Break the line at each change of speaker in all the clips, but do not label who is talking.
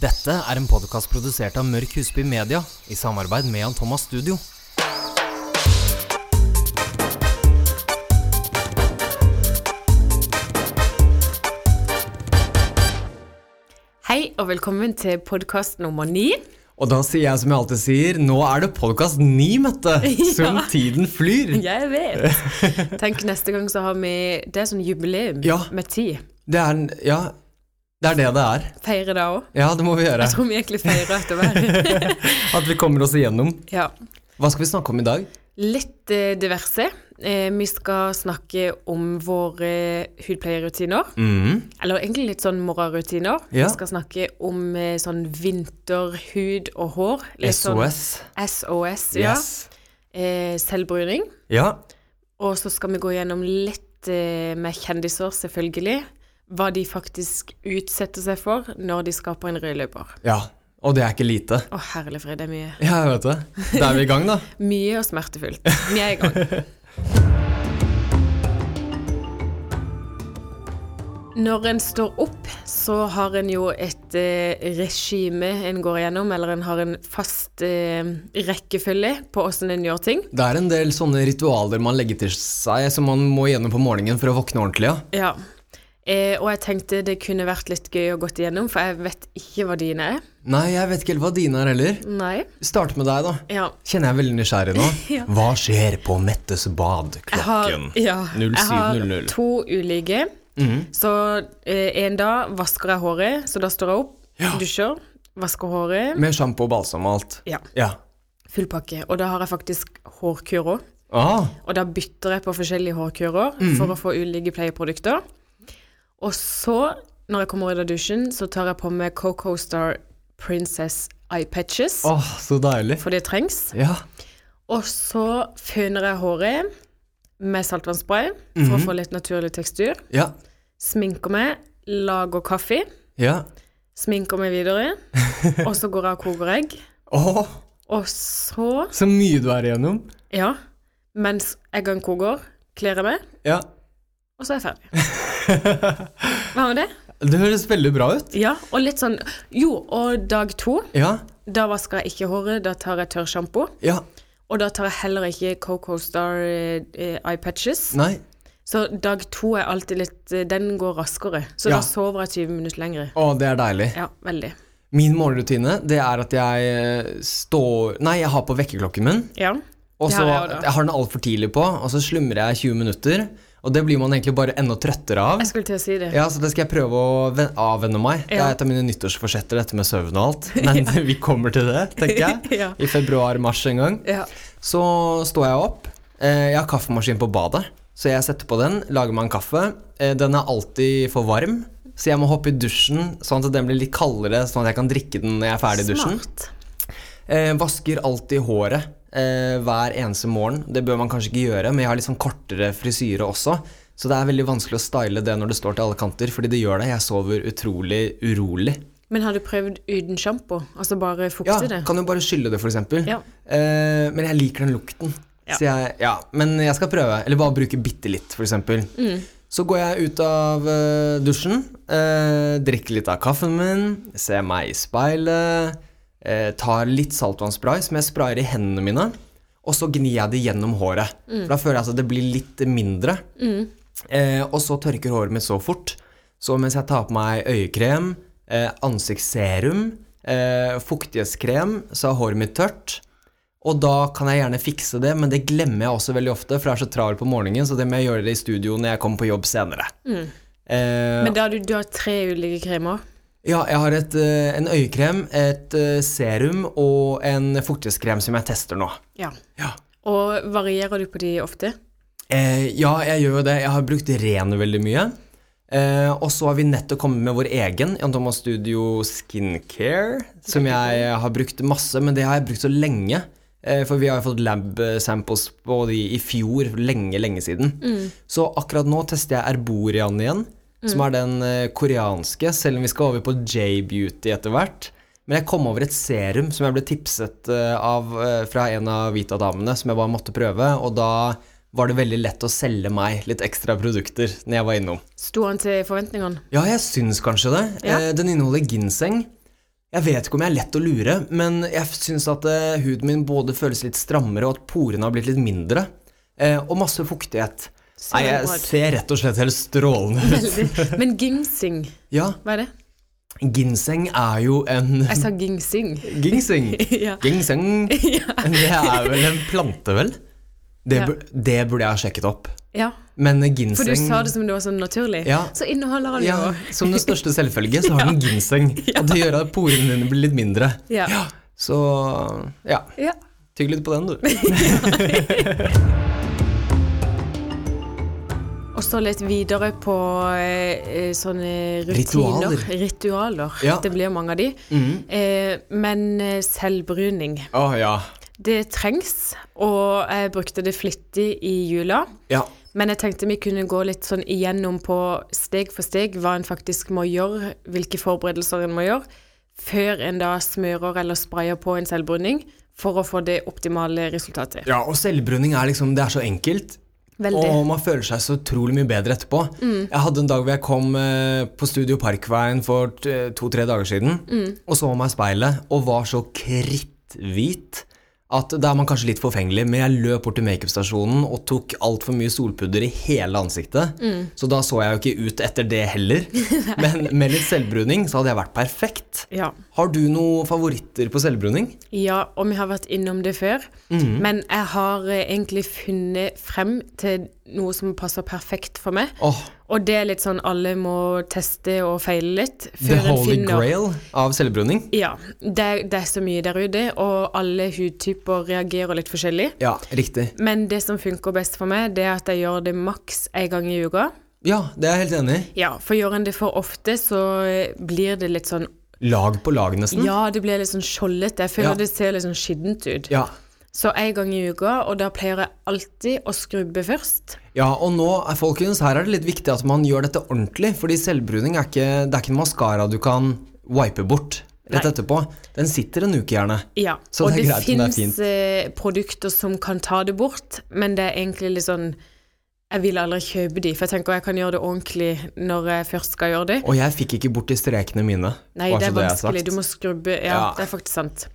Dette er en podkast produsert av Mørk Husby Media i samarbeid med Jan Thomas Studio.
Hei og velkommen til podkast nummer ni.
Og da sier jeg som jeg alltid sier, nå er det podkast ni, Mette! Som
Ja.
tiden flyr!
Jeg vet. Tenk neste gang så har vi Det er sånn jubileum
Ja.
med ti.
Det er, ja, det er det det er.
Feire da òg.
Ja, det må vi gjøre.
Jeg tror vi egentlig feirer etter hver.
At vi kommer oss igjennom.
Ja.
Hva skal vi snakke om i dag?
Litt eh, diverse. Eh, vi skal snakke om våre eh, hudpleierrutiner.
Mm-hmm.
Eller egentlig litt sånn morgenrutiner.
Ja.
Vi skal snakke om eh, sånn vinterhud og hår. Litt
SOS.
Sånn SOS, ja.
Yes.
Eh, selvbruning.
Ja.
Og så skal vi gå gjennom litt eh, med kjendiser, selvfølgelig. Hva de faktisk utsetter seg for når de skal på en rød løper.
ja. Og det er ikke lite.
Å, herlig fred, det er mye.
Ja, jeg vet det. Da er vi i gang, da.
Mye og smertefullt. Vi er i gang. Når en står opp, så har en jo et eh, regime en går igjennom, eller en har en fast eh, rekkefølge på åssen en gjør ting.
Det er en del sånne ritualer man legger til seg, som man må gjennom på morgenen for å våkne ordentlig. Ja.
Ja. Eh, og jeg tenkte det kunne vært litt gøy å gått igjennom, for jeg vet ikke hva dine er.
Nei, jeg vet ikke helt hva dine er heller.
Nei.
Start med deg, da.
Ja.
Kjenner jeg er veldig nysgjerrig nå.
Ja.
Hva skjer på Mettes bad
Jeg har, ja, jeg har
07.00.
to ulike. Så eh, en dag vasker jeg håret, så da står jeg opp, dusjer, vasker håret.
Med sjampo og balsam og alt.
Ja,
Ja.
full pakke. Og da har jeg faktisk hårkur òg.
Ah,
Og da bytter jeg på forskjellige hårkurer for å få ulike pleieprodukter. Og så, når jeg kommer ut av dusjen, så tar jeg på meg Coco Star Princess Eye Patches.
åh, så deilig.
For det trengs.
Ja.
Og så føner jeg håret med saltvannsspray for å få litt naturlig tekstur.
Ja.
Sminker meg, lager kaffe,
Ja.
sminker meg videre. Og så går jeg og koker egg.
Åh,
Og så,
så mye du er igjennom.
ja, mens eggene koker, kler jeg meg,
Ja.
og så er jeg ferdig. Hva med det?
Det høres veldig bra ut.
Ja, og litt sånn Jo, og dag to,
Ja.
da vasker jeg ikke håret, da tar jeg tørrsjampo.
Ja.
Og da tar jeg heller ikke Coco Star eh, eh, eye patches.
Nei.
Så dag to er alltid litt eh, Den går raskere. Så
Ja.
da sover jeg 20 minutter lenger.
Å, det er deilig.
Ja, veldig.
Min morgenrutine, det er at jeg eh, står Nei, jeg har på vekkerklokken min.
Ja.
Og
Det
så
har jeg
jeg,
også da.
har den altfor tidlig på, og så slumrer jeg 20 minutter. Og det blir man egentlig bare enda trøttere av.
Jeg skulle til å si det.
Ja, så det skal jeg prøve å ven- avvenne meg. Det
Ja.
er et av mine nyttårsforsetter, dette med søvn og alt. Men vi kommer til det, tenker jeg.
Ja.
I februar-mars en gang.
Ja.
Så står jeg opp. Eh, Jeg har kaffemaskin på badet, så jeg setter på den, lager meg en kaffe. Eh, Den er alltid for varm, så jeg må hoppe i dusjen sånn at den blir litt kaldere, sånn at jeg kan drikke den når jeg er ferdig i dusjen.
Smart.
Eh, vasker alltid håret eh, hver eneste morgen. Det bør man kanskje ikke gjøre, men jeg har litt sånn kortere frisyre også. Så det er veldig vanskelig å style det når det står til alle kanter, fordi det gjør det. Jeg sover utrolig urolig.
Men har du prøvd uten sjampo? Altså bare fukte
Ja,
det?
kan jo bare skylle det, for eksempel.
Ja.
Eh, men jeg liker den lukten.
Ja.
Så jeg, ja, men jeg skal prøve. Eller bare bruke bitte litt, for eksempel.
Mm.
Så går jeg ut av eh, dusjen, eh, drikker litt av kaffen min, ser meg i speilet, eh, tar litt saltvannsspray som jeg sprayer i hendene mine, og så gnir jeg det gjennom håret. For da føler jeg at det blir litt mindre. Eh, og så tørker håret mitt så fort. Så mens jeg tar på meg øyekrem, eh, ansiktsserum, eh, fuktighetskrem, så er håret mitt tørt. Og da kan jeg gjerne fikse det, men det glemmer jeg også veldig ofte, for jeg er så travel på morgenen, så det må jeg gjøre det i studio når jeg kommer på jobb senere. Eh,
Men da har du, du har tre ulike kremer?
ja, jeg har et, eh, en øyekrem, et eh, serum og en fuktighetskrem som jeg tester nå.
Ja.
Ja.
Og varierer du på de ofte?
Eh, ja, jeg gjør jo det. Jeg har brukt Reno veldig mye. Eh, og så har vi nettopp kommet med vår egen Jan Thomas Studio Skincare, som jeg har brukt masse, men det har jeg brukt så lenge. Eh, for vi har jo fått lab eh, samples på de i fjor, lenge, lenge siden. Så akkurat nå tester jeg Erborian igjen, som er den eh, koreanske, selv om vi skal over på J-Beauty etter hvert. Men jeg kom over et serum som jeg ble tipset eh, av eh, fra en av Vita damene, som jeg bare måtte prøve, og da var det veldig lett å selge meg litt ekstra produkter når jeg var innom.
Sto han til forventningene?
Ja, jeg syns kanskje det.
Ja.
Eh, den inneholder ginseng, Jeg vet ikke om jeg er lett å lure, men jeg syns at eh, huden min både føles litt strammere, og at porene har blitt litt mindre. Eh, og masse fuktighet.
Så
Nei, jeg
bra ut.
ser rett og slett helt strålende ut.
Veldig. Men ginseng,
Ja,
hva er det?
ginseng er jo en
Jeg sa ginseng.
Ginseng!
ja.
Ginseng,
ja.
det er vel en plante, vel? Det,
Ja.
bur det burde jeg ha sjekket opp.
ja.
Men
For du
ginseng
sa det som det var sånn naturlig.
Ja.
Så inneholder han
ja,
jo
Som den største selvfølge, så har den ginseng. Og det gjør at porene dine blir litt mindre.
Ja.
Så ja.
Ja.
Tygg litt på den, du.
Og så litt videre på eh, eh, sånne rutiner. Ritualer.
Ja.
Det blir mange av de. Eh, men eh, selvbruning,
Å ja.
det trengs. Og jeg brukte det flittig i jula.
Ja.
Men jeg tenkte vi kunne gå litt sånn igjennom på steg for steg hva en faktisk må gjøre, hvilke forberedelser en må gjøre, før en da smører eller sprayer på en selvbruning for å få det optimale resultatet.
ja og selvbruning er liksom Det er så enkelt.
Veldig. Mm.
Og man føler seg så utrolig mye bedre etterpå. Jeg hadde en dag hvor jeg kom eh, på Studio Parkveien for t- eh, to-tre dager siden
Mm.
og så meg i speilet og var så kritthvit at da er man kanskje litt forfengelig, men jeg løp bort til makeupstasjonen og tok altfor mye solpudder i hele ansiktet.
Mm.
Så da så jeg jo ikke ut etter det heller. men med litt selvbruning så hadde jeg vært perfekt.
Ja.
Har du noen favoritter på selvbruning?
ja, og vi har vært innom det før,
Mhm.
men jeg har eh, egentlig funnet frem til noe som passer perfekt for meg.
Åh,
Og det er litt sånn alle må teste og feile litt
The
før en
Holy
finner
Grail av selvbruning?
Ja. Det, er- det er så mye der ute, og alle hudtyper reagerer litt forskjellig.
Ja, riktig.
Men det som funker best for meg, det er at jeg gjør det maks en gang i uka.
Ja, det er jeg helt enig i.
Ja, for gjør en det for ofte, så eh, blir det litt sånn
Lag på lag, nesten?
Ja, det blir litt sånn skjoldete. Jeg føler
Mm. Ja.
det ser litt sånn skittent ut.
Ja.
Så en gang i uka, og da pleier jeg alltid å skrubbe først.
Ja, og nå, eh, folkens, her er det litt viktig at man gjør dette ordentlig, fordi selvbruning er ikke, det er ikke en maskara du kan wipe bort rett
Nei.
etterpå. Den sitter en uke, gjerne.
Ja.
Så
og
Sånn det er
det
greit om det er
fins eh, produkter som kan ta det bort, men det er egentlig litt sånn Jeg vil aldri kjøpe de, for jeg tenker jeg kan gjøre det ordentlig når jeg først skal gjøre det.
Og jeg fikk ikke bort de strekene mine.
Nei,
bare så jeg
det er
har
vanskelig.
sagt.
Du må skrubbe. Ja,
Ja.
det er faktisk sant.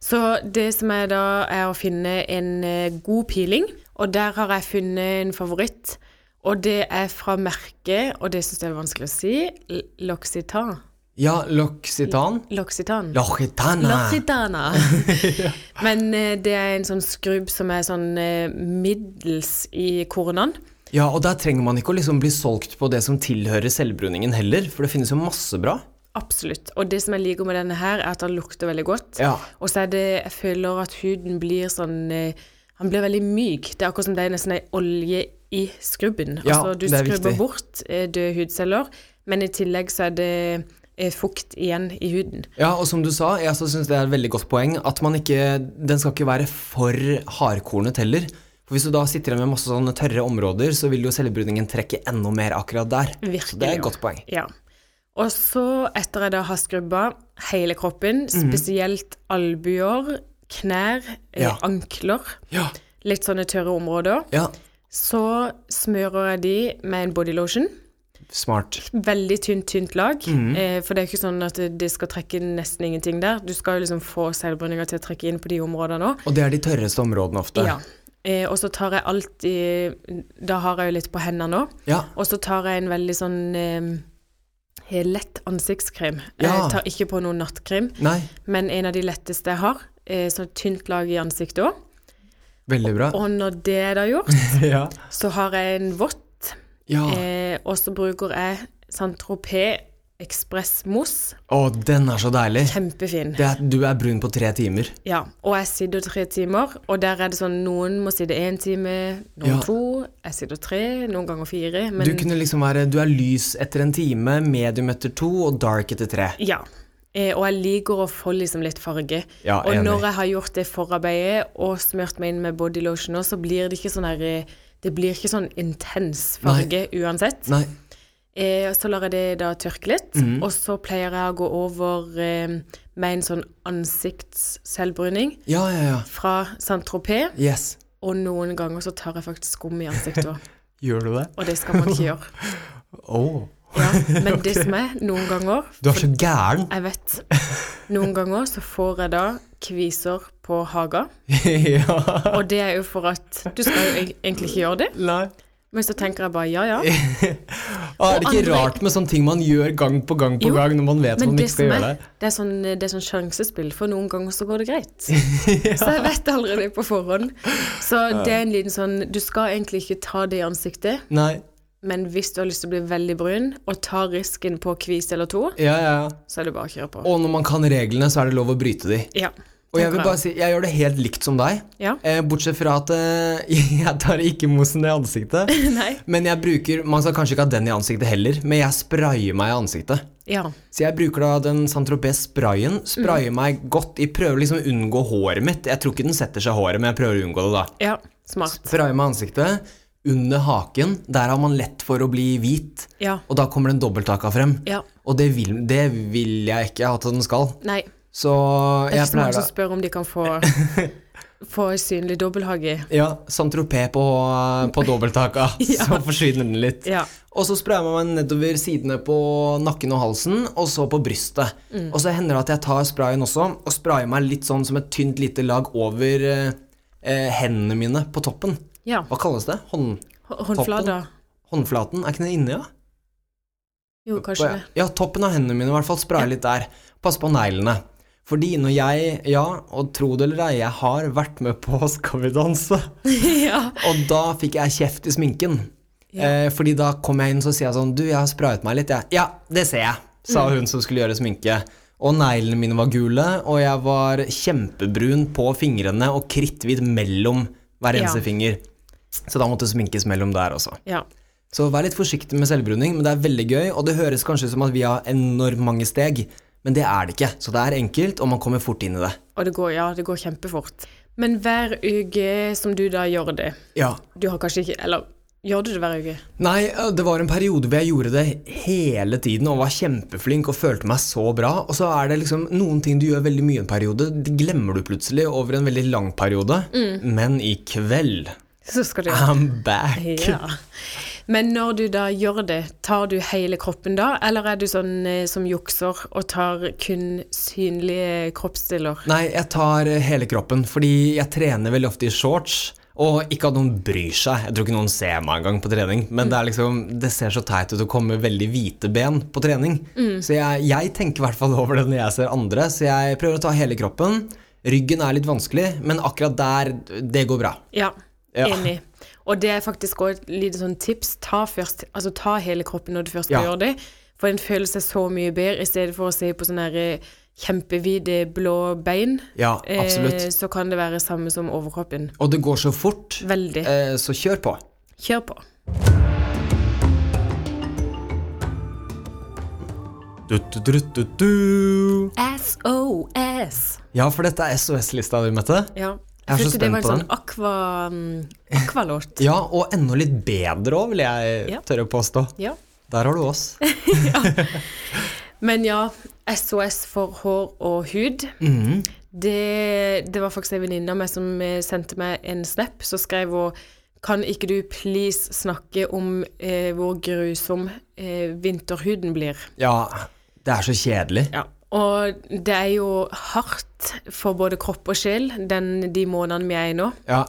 Så det som er da, er å finne en eh, god peeling, og der har jeg funnet en favoritt. Og det er fra merket, og det syns jeg er vanskelig å si, L- L'Occitane.
Ja, L'Occitan.
L'Occitane.
L'Occitana.
L'Occitana. Men eh, det er en sånn skrubb som er sånn eh, middels i kornene.
Ja, og der trenger man ikke å liksom bli solgt på det som tilhører selvbruningen heller, for det finnes jo masse bra.
Absolutt. Og det som jeg liker med denne her, er at den lukter veldig godt.
Ja.
Og så er det Jeg føler at huden blir sånn eh, Han blir veldig myk. Det er akkurat som det er nesten ei olje i skrubben.
Ja,
altså, du
det er viktig.
skrubber bort eh, døde hudceller, men i tillegg så er det eh, fukt igjen i huden.
Ja, og som du sa, jeg også synes det er et veldig godt poeng at man ikke, den skal ikke være for hardkornet heller. For hvis du da sitter igjen med masse sånne tørre områder, så vil jo selvbruningen trekke enda mer akkurat der.
Mm.
Så det er
Virkelig,
et godt poeng.
Ja. Og så, etter jeg da har skrubba hele kroppen,
Mhm.
spesielt albuer, knær, eh,
Ja.
ankler,
Ja.
litt sånne tørre områder,
ja.
så smører jeg de med en bodylotion.
Smart.
veldig tynt, tynt lag.
Mhm.
Eh, for det er jo ikke sånn at det- det skal trekke nesten ingenting der. Du skal jo liksom få seilbrenninger til å trekke inn på de områdene òg.
Og det er de tørreste områdene ofte.
Ja. Eh, og så tar jeg alltid Da har jeg jo litt på hendene òg.
Ja.
Og så tar jeg en veldig sånn eh, helt lett ansiktskrem.
Ja.
Jeg tar ikke på noen nattkrem,
Nei,
men en av de letteste jeg har. Eh, sånn tynt lag i ansiktet òg.
veldig bra.
Og når det er da gjort,
ja.
så har jeg en vått,
Ja.
eh, og så bruker jeg Santropé Ekspress Mousse.
Å, den er så deilig.
Kjempefin.
Det er, du er brun på tre timer.
Ja, og jeg sitter tre timer, og der er det sånn noen må sitte én time, noen
Ja.
to, jeg sitter tre, noen ganger fire,
Du
men
kunne liksom være, du er lys etter en time, medium etter to, og dark etter tre.
ja. Eh, og jeg liker å få liksom litt farge.
Ja,
og
enig.
når jeg har gjort det forarbeidet og smurt meg inn med body lotion også, så blir det ikke sånn her eh, Det blir ikke sånn intens farge uansett.
Nei,
Eh, så lar jeg det da tørke litt,
Mhm.
og så pleier jeg å gå over eh, med en sånn ansiktsselvbruning
ja, ja, ja.
fra Saint-Tropez.
Yes.
Og noen ganger så tar jeg faktisk skum i ansiktet òg.
Gjør du det?
Og det skal man ikke gjøre.
Åh.
Ja, men det som er, noen ganger
Du er så gæren!
Jeg vet. Noen ganger så får jeg da kviser på haga,
ja.
og det er jo for at du skal jo eg- egentlig ikke gjøre det,
Nei.
men så tenker jeg bare ja, ja.
Ah, er det ikke
andre-
rart med sånne ting man gjør gang på gang på
Jo,
gang når man vet man
Men det
ikke skal
som
gjøre
er,
det?
det er sånn, det er sånn sjansespill, for noen ganger så går det greit. Så jeg vet aldri det på forhånd. Så det er en liten sånn Du skal egentlig ikke ta det i ansiktet,
Nei.
men hvis du har lyst til å bli veldig brun og ta risken på kvise eller to,
Ja, ja, ja.
så er det bare å kjøre på.
Og når man kan reglene, så er det lov å bryte de.
Ja.
Og jeg vil
tenker
bare si, jeg gjør det helt likt som deg.
Ja.
Eh, bortsett fra at eh, jeg tar ikke mosen i ansiktet.
Nei.
Men jeg bruker, man skal kanskje ikke ha den i ansiktet heller, men jeg sprayer meg i ansiktet.
Ja.
Så jeg bruker da den Saint-Tropez-sprayen,
Mm.
sprayer meg godt, jeg prøver liksom å unngå håret mitt. Jeg tror ikke den setter seg i håret, men jeg prøver å unngå det da.
ja. Smart.
Sprayer meg i ansiktet, under haken, der har man lett for å bli hvit,
Ja.
og da kommer den dobbelttaka frem.
Ja.
Og det vil, det vil jeg ikke at den skal.
Nei.
Så
Det er
jeg
ikke så mange
pleier da
som spør om de kan få, få synlig dobbelthage.
Ja, Saint-Tropez på, på dobbelttaka, så forsvinner den litt.
Ja.
Og så sprayer man meg nedover sidene på nakken og halsen, og så på brystet.
Mm.
Og så hender det at jeg tar sprayen også, og sprayer meg litt sånn som et tynt lite lag over eh, eh, hendene mine på toppen.
ja.
Hva kalles det? Hånd,
Hå- Håndflata.
håndflaten? Er ikke det inni, ja?
Jo, kanskje det.
Ja, toppen av hendene mine i hvert fall. Sprayer litt der. Pass på neglene. Fordi når jeg, ja, og tro det eller ei, jeg har vært med på Skal vi danse.
ja.
Og da fikk jeg kjeft i sminken. Eh, fordi da kom jeg inn så sier jeg sånn Du, jeg har sprayet meg litt, jeg. Ja, det ser jeg, sa
Mm.
hun som skulle gjøre sminke. Og neglene mine var gule, og jeg var kjempebrun på fingrene og kritthvit mellom hver
Ja.
eneste finger. Så da måtte det sminkes mellom der også.
ja.
Så vær litt forsiktig med selvbruning, men det er veldig gøy, og det høres kanskje ut som at vi har enormt mange steg, men det er det ikke. Så det er enkelt, og man kommer fort inn i det.
Og det går, ja, det går kjempefort. Men hver uke som du da gjør det
Ja.
Du har kanskje ikke Eller gjør du det hver uke?
Nei, eh, det var en periode hvor jeg gjorde det hele tiden og var kjempeflink og følte meg så bra. Og så er det liksom noen ting du gjør veldig mye en periode, det glemmer du plutselig over en veldig lang periode. Men i kveld
Så skal du
I'm back!
Ja. Men når du da gjør det, tar du hele kroppen da, eller er du sånn eh, som jukser og tar kun synlige kroppsdeler?
Nei, jeg tar eh, hele kroppen, fordi jeg trener veldig ofte i shorts. Og ikke at noen bryr seg. Jeg tror ikke noen ser meg engang på trening. Men det, er liksom, det ser så teit ut å komme veldig hvite ben på trening.
Mm.
Så jeg, jeg tenker i hvert fall over det når jeg ser andre, så jeg prøver å ta hele kroppen. Ryggen er litt vanskelig, men akkurat der, det går bra.
Ja,
Ja.
enig. Og det er faktisk også et lite sånn tips. Ta, først, altså, ta hele kroppen når du først
Ja.
gjør det, for en føler seg så mye bedre, i stedet for å se på sånne her, eh, kjempevide blå bein.
Ja,
eh,
absolutt.
Så kan det være samme som overkroppen.
Og det går så fort,
Veldig.
eh, så kjør på.
Kjør på.
Du, du, du, du, du.
SOS.
Ja, for dette er SOS-lista di, Mette.
Ja.
Jeg er så
synes
spent
Det
på
var en sånn aqua, mm, aqualåt.
Ja, og enda litt bedre òg, vil jeg
Ja.
tørre å påstå.
ja.
Der har du oss.
Men ja, SOS for hår og hud.
Mhm.
det, det var faktisk en venninne av meg som eh, sendte meg en snap. Så skrev hun Kan ikke du please snakke om eh, hvor grusom eh, vinterhuden blir?
Ja, det er så kjedelig.
Ja. Og det er jo hardt for både kropp og sjel den, de månedene vi er i nå.
Ja,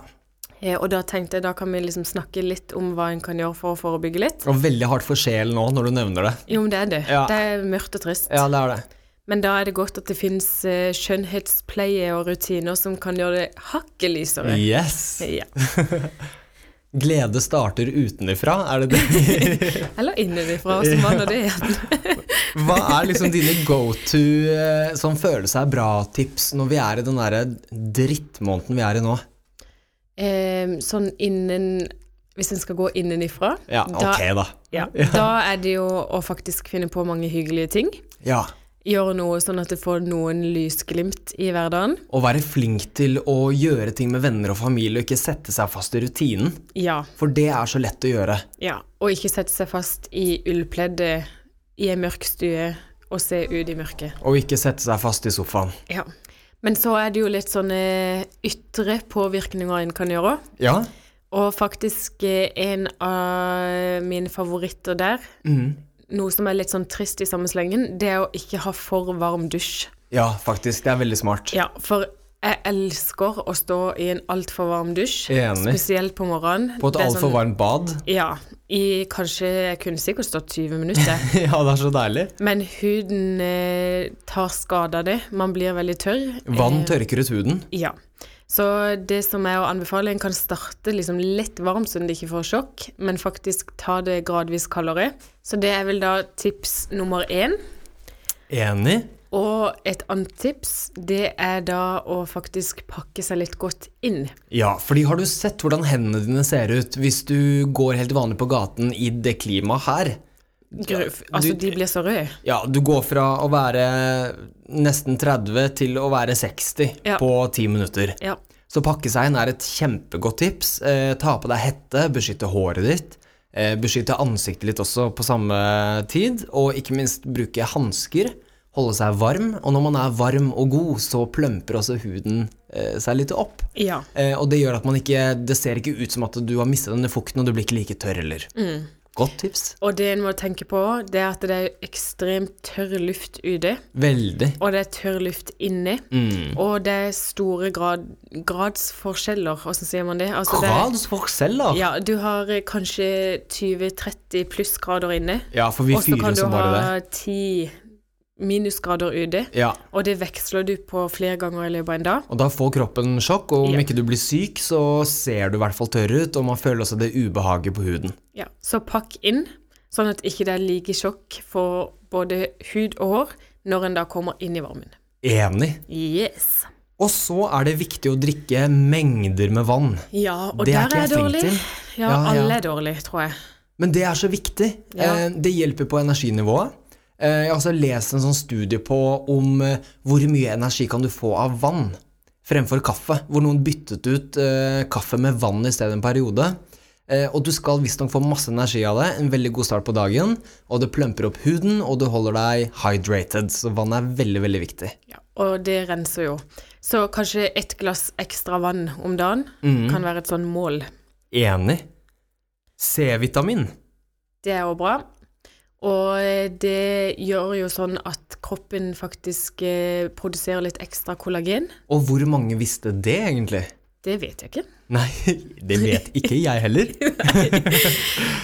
Eh, og da tenkte jeg da kan vi liksom snakke litt om hva en kan gjøre for å forebygge litt.
Og veldig hardt for sjelen nå når du nevner det.
Jo, men det er det.
Ja.
Det er mørkt og trist.
Ja, det er det.
Men da er det godt at det finnes eh, skjønnhetspleie og rutiner som kan gjøre det hakket lysere.
Yes!
Ja.
Glede starter utenifra, er det det?
Eller innenfra, som var nå det igjen.
Hva er liksom dine go to eh, sånn føle seg bra-tips når vi er i den derre drittmåneden vi er i nå?
Eh, sånn innen Hvis en skal gå innenifra,
Ja,
da,
ok, da.
ja, da er det jo å faktisk finne på mange hyggelige ting.
Ja.
Gjøre noe sånn at det får noen lysglimt i hverdagen.
Å være flink til å gjøre ting med venner og familie og ikke sette seg fast i rutinen.
Ja.
For det er så lett å gjøre.
ja. Og ikke sette seg fast i ullpleddet i ei mørk stue og se ut i mørket.
Og ikke sette seg fast i sofaen.
Ja. Men så er det jo litt sånne ytre påvirkninger en kan gjøre.
Ja. Mm.
Og faktisk eh, en av mine favoritter der, noe som er litt sånn trist i samme slengen, det er å ikke ha for varm dusj.
Ja, faktisk. Det er veldig smart.
Ja, for jeg elsker å stå i en altfor varm dusj,
Enig.
spesielt på morgenen.
På et
Det er
altfor
sånn-
varmt bad.
Ja, i kanskje, jeg kunne sikkert stått 20 minutter.
ja, det er så deilig.
Men huden eh, tar skade av det. Man blir veldig tørr.
Vann
Eh,
tørker ut huden.
Ja. Så det som er å anbefale, en kan starte liksom lett varmt så en ikke får sjokk, men faktisk ta det gradvis kaldere. Så det er vel da tips nummer én.
Enig.
Og et annet tips, det er da å faktisk pakke seg litt godt inn.
Ja, fordi har du sett hvordan hendene dine ser ut hvis du går helt vanlig på gaten i det klimaet her?
Gru- altså, de blir så røde.
Ja, du går fra å være nesten 30 til å være 60
Ja.
på 10 minutter.
Ja.
Så pakke seg inn er et kjempegodt tips. Eh, ta på deg hette, beskytte håret ditt. Eh, beskytte ansiktet litt også på samme tid. Og ikke minst bruke hansker. Holde seg varm. Og når man er varm og god, så plømper også huden eh, seg litt opp.
ja.
Eh, og det gjør at man ikke Det ser ikke ut som at du har mistet denne fukten, og du blir ikke like tørr heller.
Mm.
Godt tips.
Og det en må tenke på, det er at det er ekstremt tørr luft ute.
Veldig.
og det er tørr luft inni. Og det er store grad, gradsforskjeller, hvordan sier man det? Altså, det er-
Gradsforskjell, da.
Ja, du har eh, kanskje 20-30 pluss grader inne,
Ja, for vi
og så
fyrer
kan du
som bare det.
ha 10 minusgrader ute,
Ja,
og det veksler du på flere ganger i løpet av en dag.
og da får kroppen sjokk, og om
Ja.
ikke du blir syk, så ser du i hvert fall tørr ut, og man føler også det ubehaget på huden.
Ja. Så pakk inn, sånn at ikke det er like sjokk for både hud og hår når en da kommer inn i varmen.
Enig.
Yes.
Og så er det viktig å drikke mengder med vann.
Ja, og
Det er
der er
ikke
jeg
jeg flink
dårlig.
til. Ja,
Ja,
ja.
alle er dårlige, tror jeg.
Men det er så viktig.
Ja.
Eh, Det hjelper på energinivået. Eh, Jeg har også lest en sånn studie på om eh, hvor mye energi kan du få av vann fremfor kaffe, hvor noen byttet ut eh, kaffe med vann i stedet en periode. Eh, Og du skal visstnok få masse energi av det, en veldig god start på dagen, og det plumper opp huden, og du holder deg hydrated, så vann er veldig, veldig viktig.
Ja, og det renser jo. Så kanskje et glass ekstra vann om dagen
Mm.
kan være et sånn mål.
Enig. C-vitamin.
Det er jo bra. Og eh, det gjør jo sånn at kroppen faktisk eh, produserer litt ekstra kollagen.
Og hvor mange visste det, egentlig?
Det vet jeg ikke.
Nei, det vet ikke jeg heller.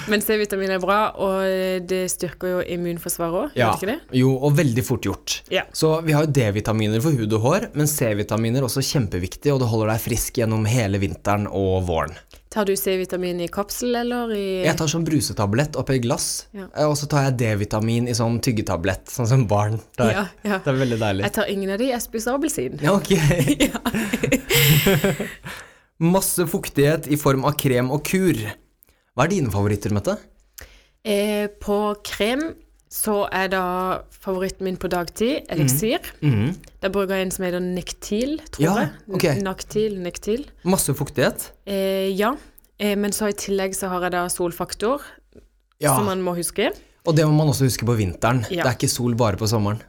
Men C-vitamin er bra, og eh, det styrker jo immunforsvaret òg, gjør det ikke det?
Jo, og veldig fort gjort.
Ja.
Så vi har jo D-vitaminer for hud og hår, men C-vitaminer er også kjempeviktig, og det holder deg frisk gjennom hele vinteren og våren.
Tar du C-vitamin i kapsel eller i
Jeg tar sånn brusetablett oppi et glass,
Ja.
eh, og så tar jeg D-vitamin i sånn tyggetablett, sånn som barn. tar.
Ja, ja.
Det er veldig deilig.
Jeg tar ingen av de, jeg spiser appelsin.
Ja, ok. Masse fuktighet i form av krem og kur. Hva er dine favoritter, Mette?
Eh, på krem så er da favoritten min på
Mhm.
dagtid eliksir. Da bruker jeg en som heter Nektil, tror
Ja,
jeg.
ok.
N- Naktil, Nektil.
Masse fuktighet?
Eh, ja. Eh, men så i tillegg så har jeg da solfaktor,
Ja,
som man må huske.
og det må man også huske på vinteren.
Ja.
Det er ikke sol bare på sommeren.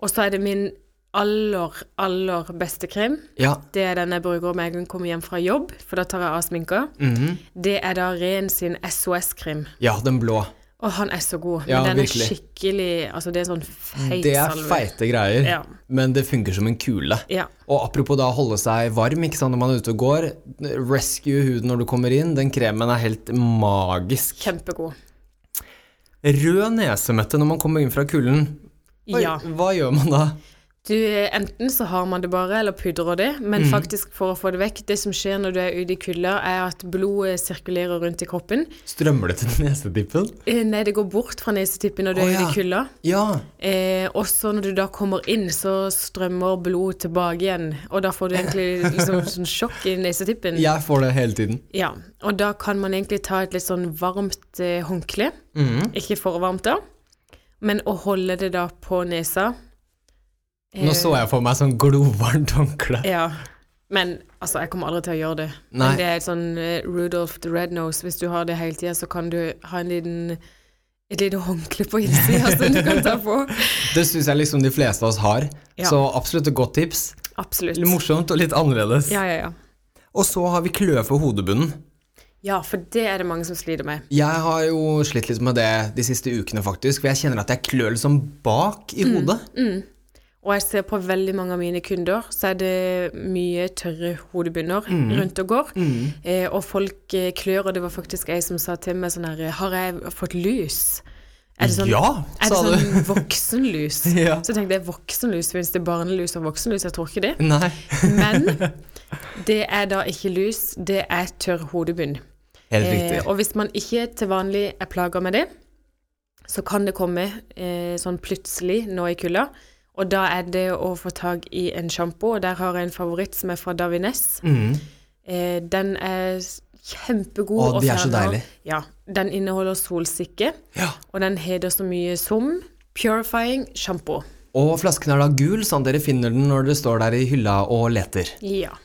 Og så er det min aller, aller beste krem.
Ja,
Det er den jeg bruker om jeg kan komme hjem fra jobb, for da tar jeg av sminka.
Mhm.
Det er da Ren sin SOS-krim.
ja den blå.
Og han er så god.
Ja,
men den
virkelig.
er skikkelig Altså, det er sånn feit
Det er
salve.
feite greier,
Ja.
men det funker som en kule.
Ja.
Og apropos da holde seg varm ikke sant, når man er ute og går. Rescue huden når du kommer inn. Den kremen er helt magisk.
Kjempegod.
Rød nesemette når man kommer inn fra kulden. Oi,
Ja.
Hva gjør man da?
Du, enten så har man det bare, eller pudrer det, men
Mhm.
faktisk for å få det vekk Det som skjer når du er ute i kulda, er at blodet sirkulerer rundt i kroppen.
Strømmer det til nesetippen?
Eh, Nei, det går bort fra nesetippen når du
Å,
er
ja.
ute i kulda.
Ja.
Eh, også når du da kommer inn, så strømmer blodet tilbake igjen, og da får du egentlig liksom sånn sjokk i nesetippen.
Jeg får det hele tiden.
Ja, og da kan man egentlig ta et litt sånn varmt eh, håndkle,
Mm.
ikke for varmt da, men å holde det da på nesa. Eh,
Nå så jeg for meg sånn glovarmt håndkle.
Ja, men altså, jeg kommer aldri til å gjøre det.
Nei.
Men det er et sånn eh, Rudolph the Red Nose. Hvis du har det hele tida, så kan du ha en liten et lite håndkle på innsida som du kan ta på.
Det syns jeg liksom de fleste av oss har.
Ja.
Så absolutt et godt tips.
Absolutt.
Litt morsomt og litt annerledes.
Ja, ja, ja.
Og så har vi kløe for hodebunnen.
Ja, for det er det mange som sliter med.
Jeg har jo slitt litt med det de siste ukene, faktisk. For jeg kjenner at jeg klør liksom bak
Mm.
i hodet.
Og jeg ser på veldig mange av mine kunder, så er det mye tørre hodebunner
Mm.
rundt og går. Eh, og folk eh, klør, og det var faktisk ei som sa til meg sånn her Har jeg fått lus? Er det sånn,
Ja,
er det
sa du.
sånn voksenlus?
Ja.
Så tenkte jeg voksenlus, finnes det barnelus og voksenlus? Jeg tror ikke det.
Nei.
Men det er da ikke lus, det er tørr hodebunn.
Helt
Eh,
riktig.
og hvis man ikke til vanlig er plaga med det, så kan det komme eh, sånn plutselig nå i kulda. Og da er det å få tak i en sjampo, og der har jeg en favoritt som er fra Davines. Eh, den er s- kjempegod.
Mm. Å,
og
de er så
fjerner-
deilig.
Ja. Den inneholder solsikke,
Ja.
og den heter så mye som Purifying Shampoo.
Og flasken er da gul, sånn dere finner den når dere står der i hylla og leter.
Ja.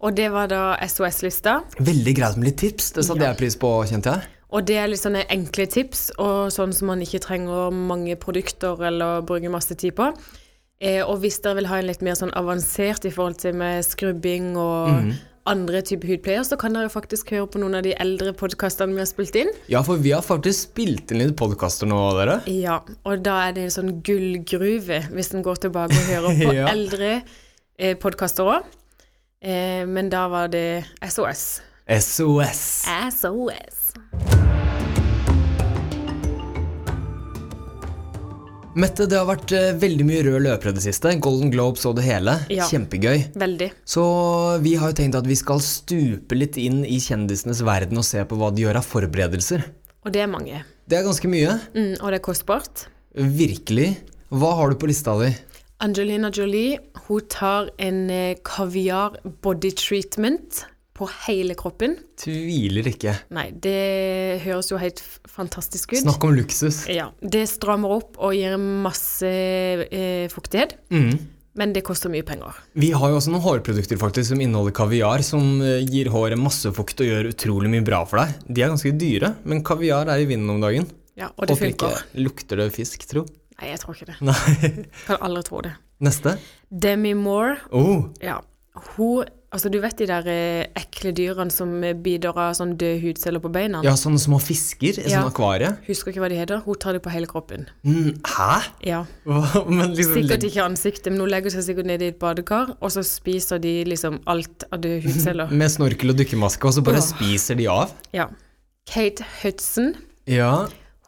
Og det var da SOS-lista.
Veldig greit med litt tips. Det satte
Ja.
jeg pris på, kjente jeg.
Og det er litt sånne enkle tips, og sånn som man ikke trenger mange produkter eller bruker masse tid på. Eh, og hvis dere vil ha en litt mer sånn avansert i forhold til med skrubbing og andre typer hudpleier, så kan dere faktisk høre på noen av de eldre podkastene vi har spilt inn.
Ja, for vi har faktisk spilt inn litt podkaster nå, dere.
Ja, og da er det en sånn gullgruve, hvis en går tilbake og hører på
Ja.
eldre eh, podkaster òg. Eh, men da var det SOS.
SOS.
SOS.
Mette, det har vært eh, veldig mye rød løper i det siste. Golden Globes og det hele.
Ja.
Kjempegøy.
Veldig.
Så vi har jo tenkt at vi skal stupe litt inn i kjendisenes verden og se på hva de gjør av forberedelser.
Og det er mange.
Det er ganske mye.
Mm, og det er kostbart.
Virkelig. Hva har du på lista di?
Angelina Jolie hun tar en eh, kaviar body treatment på hele kroppen.
Tviler ikke.
Nei, det høres jo helt f- fantastisk ut.
Snakk om luksus.
Ja, Det strammer opp og gir masse eh, fuktighet,
Mm.
men det koster mye penger.
Vi har jo også noen hårprodukter faktisk som inneholder kaviar, som eh, gir håret masse fukt og gjør utrolig mye bra for deg. De er ganske dyre, men kaviar er i vinden om dagen.
Ja, Og det
Håper ikke
funker.
lukter det fisk, tro.
Nei, jeg tror ikke det.
Nei.
Kan aldri tro det.
Neste.
Demi Moore,
Oh,
ja. Hun Altså, du vet de der eh, ekle dyrene som eh, biter av sånn døde hudceller på beina?
ja, sånne små fisker i
Ja.
sånn akvarie.
Husker ikke hva de heter. Hun tar det på hele kroppen.
Mm, hæ?
Ja.
Hva? Men liksom,
Sikkert ikke ansiktet, men hun legger seg sikkert ned i et badekar, og så spiser de liksom alt av døde hudceller.
Med snorkel og dykkermaske, og så bare
Åh.
spiser de av?
Ja. Kate Hudson,
Ja.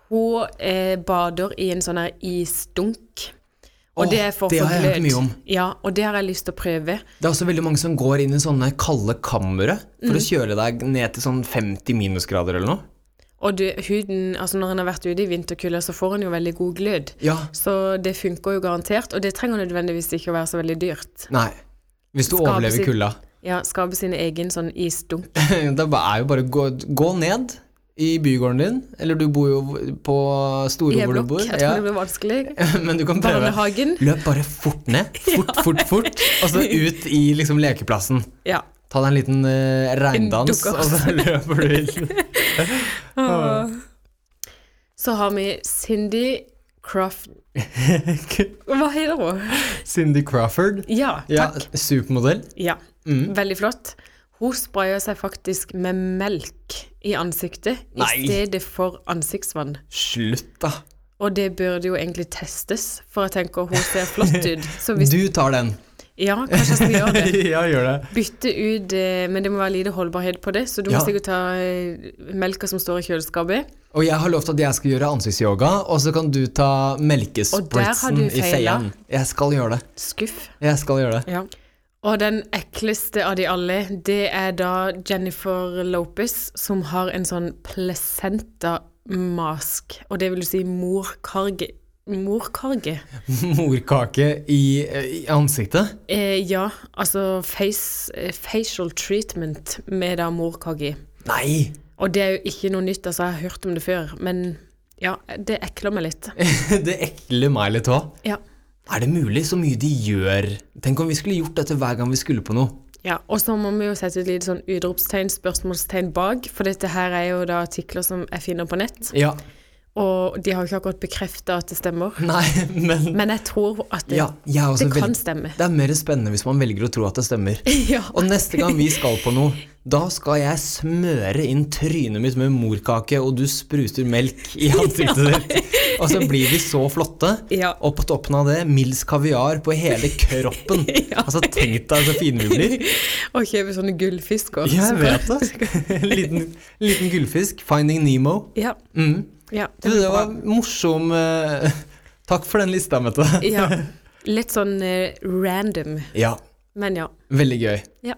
hun eh, bader i en sånn her isdunk. Og
Åh,
det er for
det har jeg hørt
forglød.
mye om.
Ja, og det har jeg lyst til å prøve.
Det er også veldig mange som går inn i sånne kalde kamre for
Mm.
å kjøle deg ned til sånn 50 minusgrader eller noe.
Og du, huden, altså når en har vært ute i vinterkulda, så får en jo veldig god glød.
Ja.
Så det funker jo garantert, og det trenger nødvendigvis ikke å være så veldig dyrt.
Nei. Hvis du
Skape
overlever
sitt-
kulda.
Ja, skape sin egen sånn isdunk.
Det er ba- er jo bare å gå, gå ned i bygården din, eller du bor jo på Store
I en
hvor du
blokk.
bor.
Jeg tror
Ja.
det blir vanskelig.
Men du kan prøve.
Barnehagen.
Løp bare fort ned. Fort, fort, fort. Og så ut i liksom lekeplassen.
Ja.
Ta deg en liten eh, regndans,
dukkers.
og så løper du inn.
Så har vi Cindy Croft Hva heter hun?
Cindy Crawford.
Ja,
Ja, Mm.
takk.
supermodell.
Ja. Veldig flott. Hun sprayer seg faktisk med melk i ansiktet
Nei.
i stedet for ansiktsvann.
Slutt, da.
Og det burde jo egentlig testes, for jeg tenker hun ser flott ut. Så hvis
Du tar den.
Ja, kanskje jeg skal gjøre det.
ja, gjør det.
Bytte ut eh, Men det må være lite holdbarhet på det, så du
Ja.
må sikkert ta eh, melka som står i kjøleskapet.
Og jeg har lovt at jeg skal gjøre ansiktsyoga, og så kan du ta
Og der har
melkespritzen
du
i
feila.
feien. Jeg skal gjøre det.
Skuff.
Jeg skal gjøre det.
Ja. Og den ekleste av de alle, det er da Jennifer Lopez, som har en sånn placenta-mask. Og det vil si morkarge. Morkarge?
morkake i, i ansiktet.
Eh, ja, altså face, eh, facial treatment med da morkage i.
Nei!
Og det er jo ikke noe nytt, altså jeg har hørt om det før, men ja, det ekler meg litt.
Det ekler meg litt òg.
Ja.
Er det mulig så mye de gjør? Tenk om vi skulle gjort dette hver gang vi skulle på noe.
Ja, og så må vi jo sette et lite sånn utropstegn, spørsmålstegn bak, for dette her er jo da artikler som jeg finner på nett.
Ja.
Og de har jo ikke akkurat bekrefta at det stemmer.
Nei, men
Men jeg tror at det,
ja, jeg er også
det kan
veldig-
stemme.
Det er mer spennende hvis man velger å tro at det stemmer.
Ja.
Og neste gang vi skal på noe, da skal jeg smøre inn trynet mitt med morkake, og du spruter melk i ansiktet ditt. Og så blir vi så flotte.
Ja.
Og på toppen av det, Mills kaviar på hele kroppen.
Ja.
Altså, tenk deg så fine vi blir.
Og kjøpe sånne gullfisker.
Jeg
som-
vet det. En liten, liten gullfisk. Finding Nemo.
Ja,
Mm.
ja,
Du,
det blir
det
bra.
var morsom eh, Takk for den lista, Mette.
Ja. Litt sånn eh, random,
Ja,
men ja.
veldig gøy.
ja.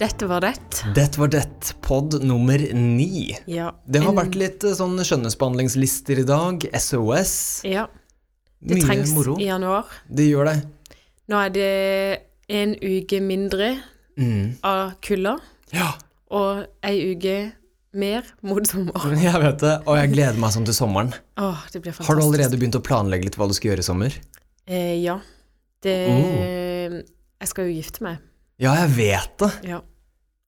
Dette var det.
Det var det. Pod nummer ni.
Ja.
Det har
En-
vært litt eh, sånn skjønnhetsbehandlingslister i dag. SOS.
Ja. Det
Mye
trengs
moro.
i januar.
Det gjør det.
Nå er det en uke mindre
Mm.
av kulda,
Ja,
og ei uke mer mot sommer.
jeg vet det. Og jeg gleder meg sånn til sommeren.
Åh, det blir fantastisk.
Har du allerede begynt å planlegge litt hva du skal gjøre i sommer?
Eh, ja. Det
Mm.
Jeg skal jo gifte meg.
Ja, jeg vet det.
Ja.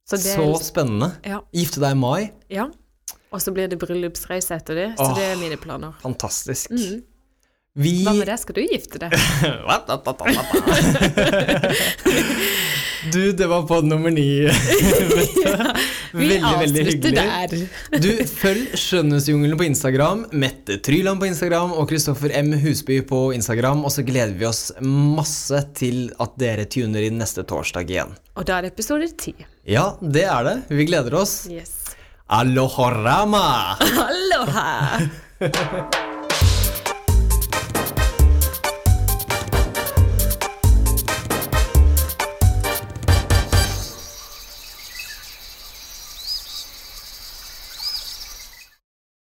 Så det
Så
er litt,
spennende.
ja,
Gifte deg i mai.
ja. Og så blir det bryllupsreise etter det, så
Åh.
det er mine planer.
Fantastisk.
Mm.
Vi
Hva med det, skal du gifte deg?
Du, det var pod nummer ni.
Vi
Veldig, veldig hyggelig.
avslutter der.
Du, følg Skjønnhetsjungelen på Instagram, Mette Tryland på Instagram og Kristoffer M. Husby på Instagram. Og så gleder vi oss masse til at dere tuner inn neste torsdag igjen.
Og da er det episode ti.
Ja, det er det. Vi gleder oss.
Yes.
Alohorama!
Aloha!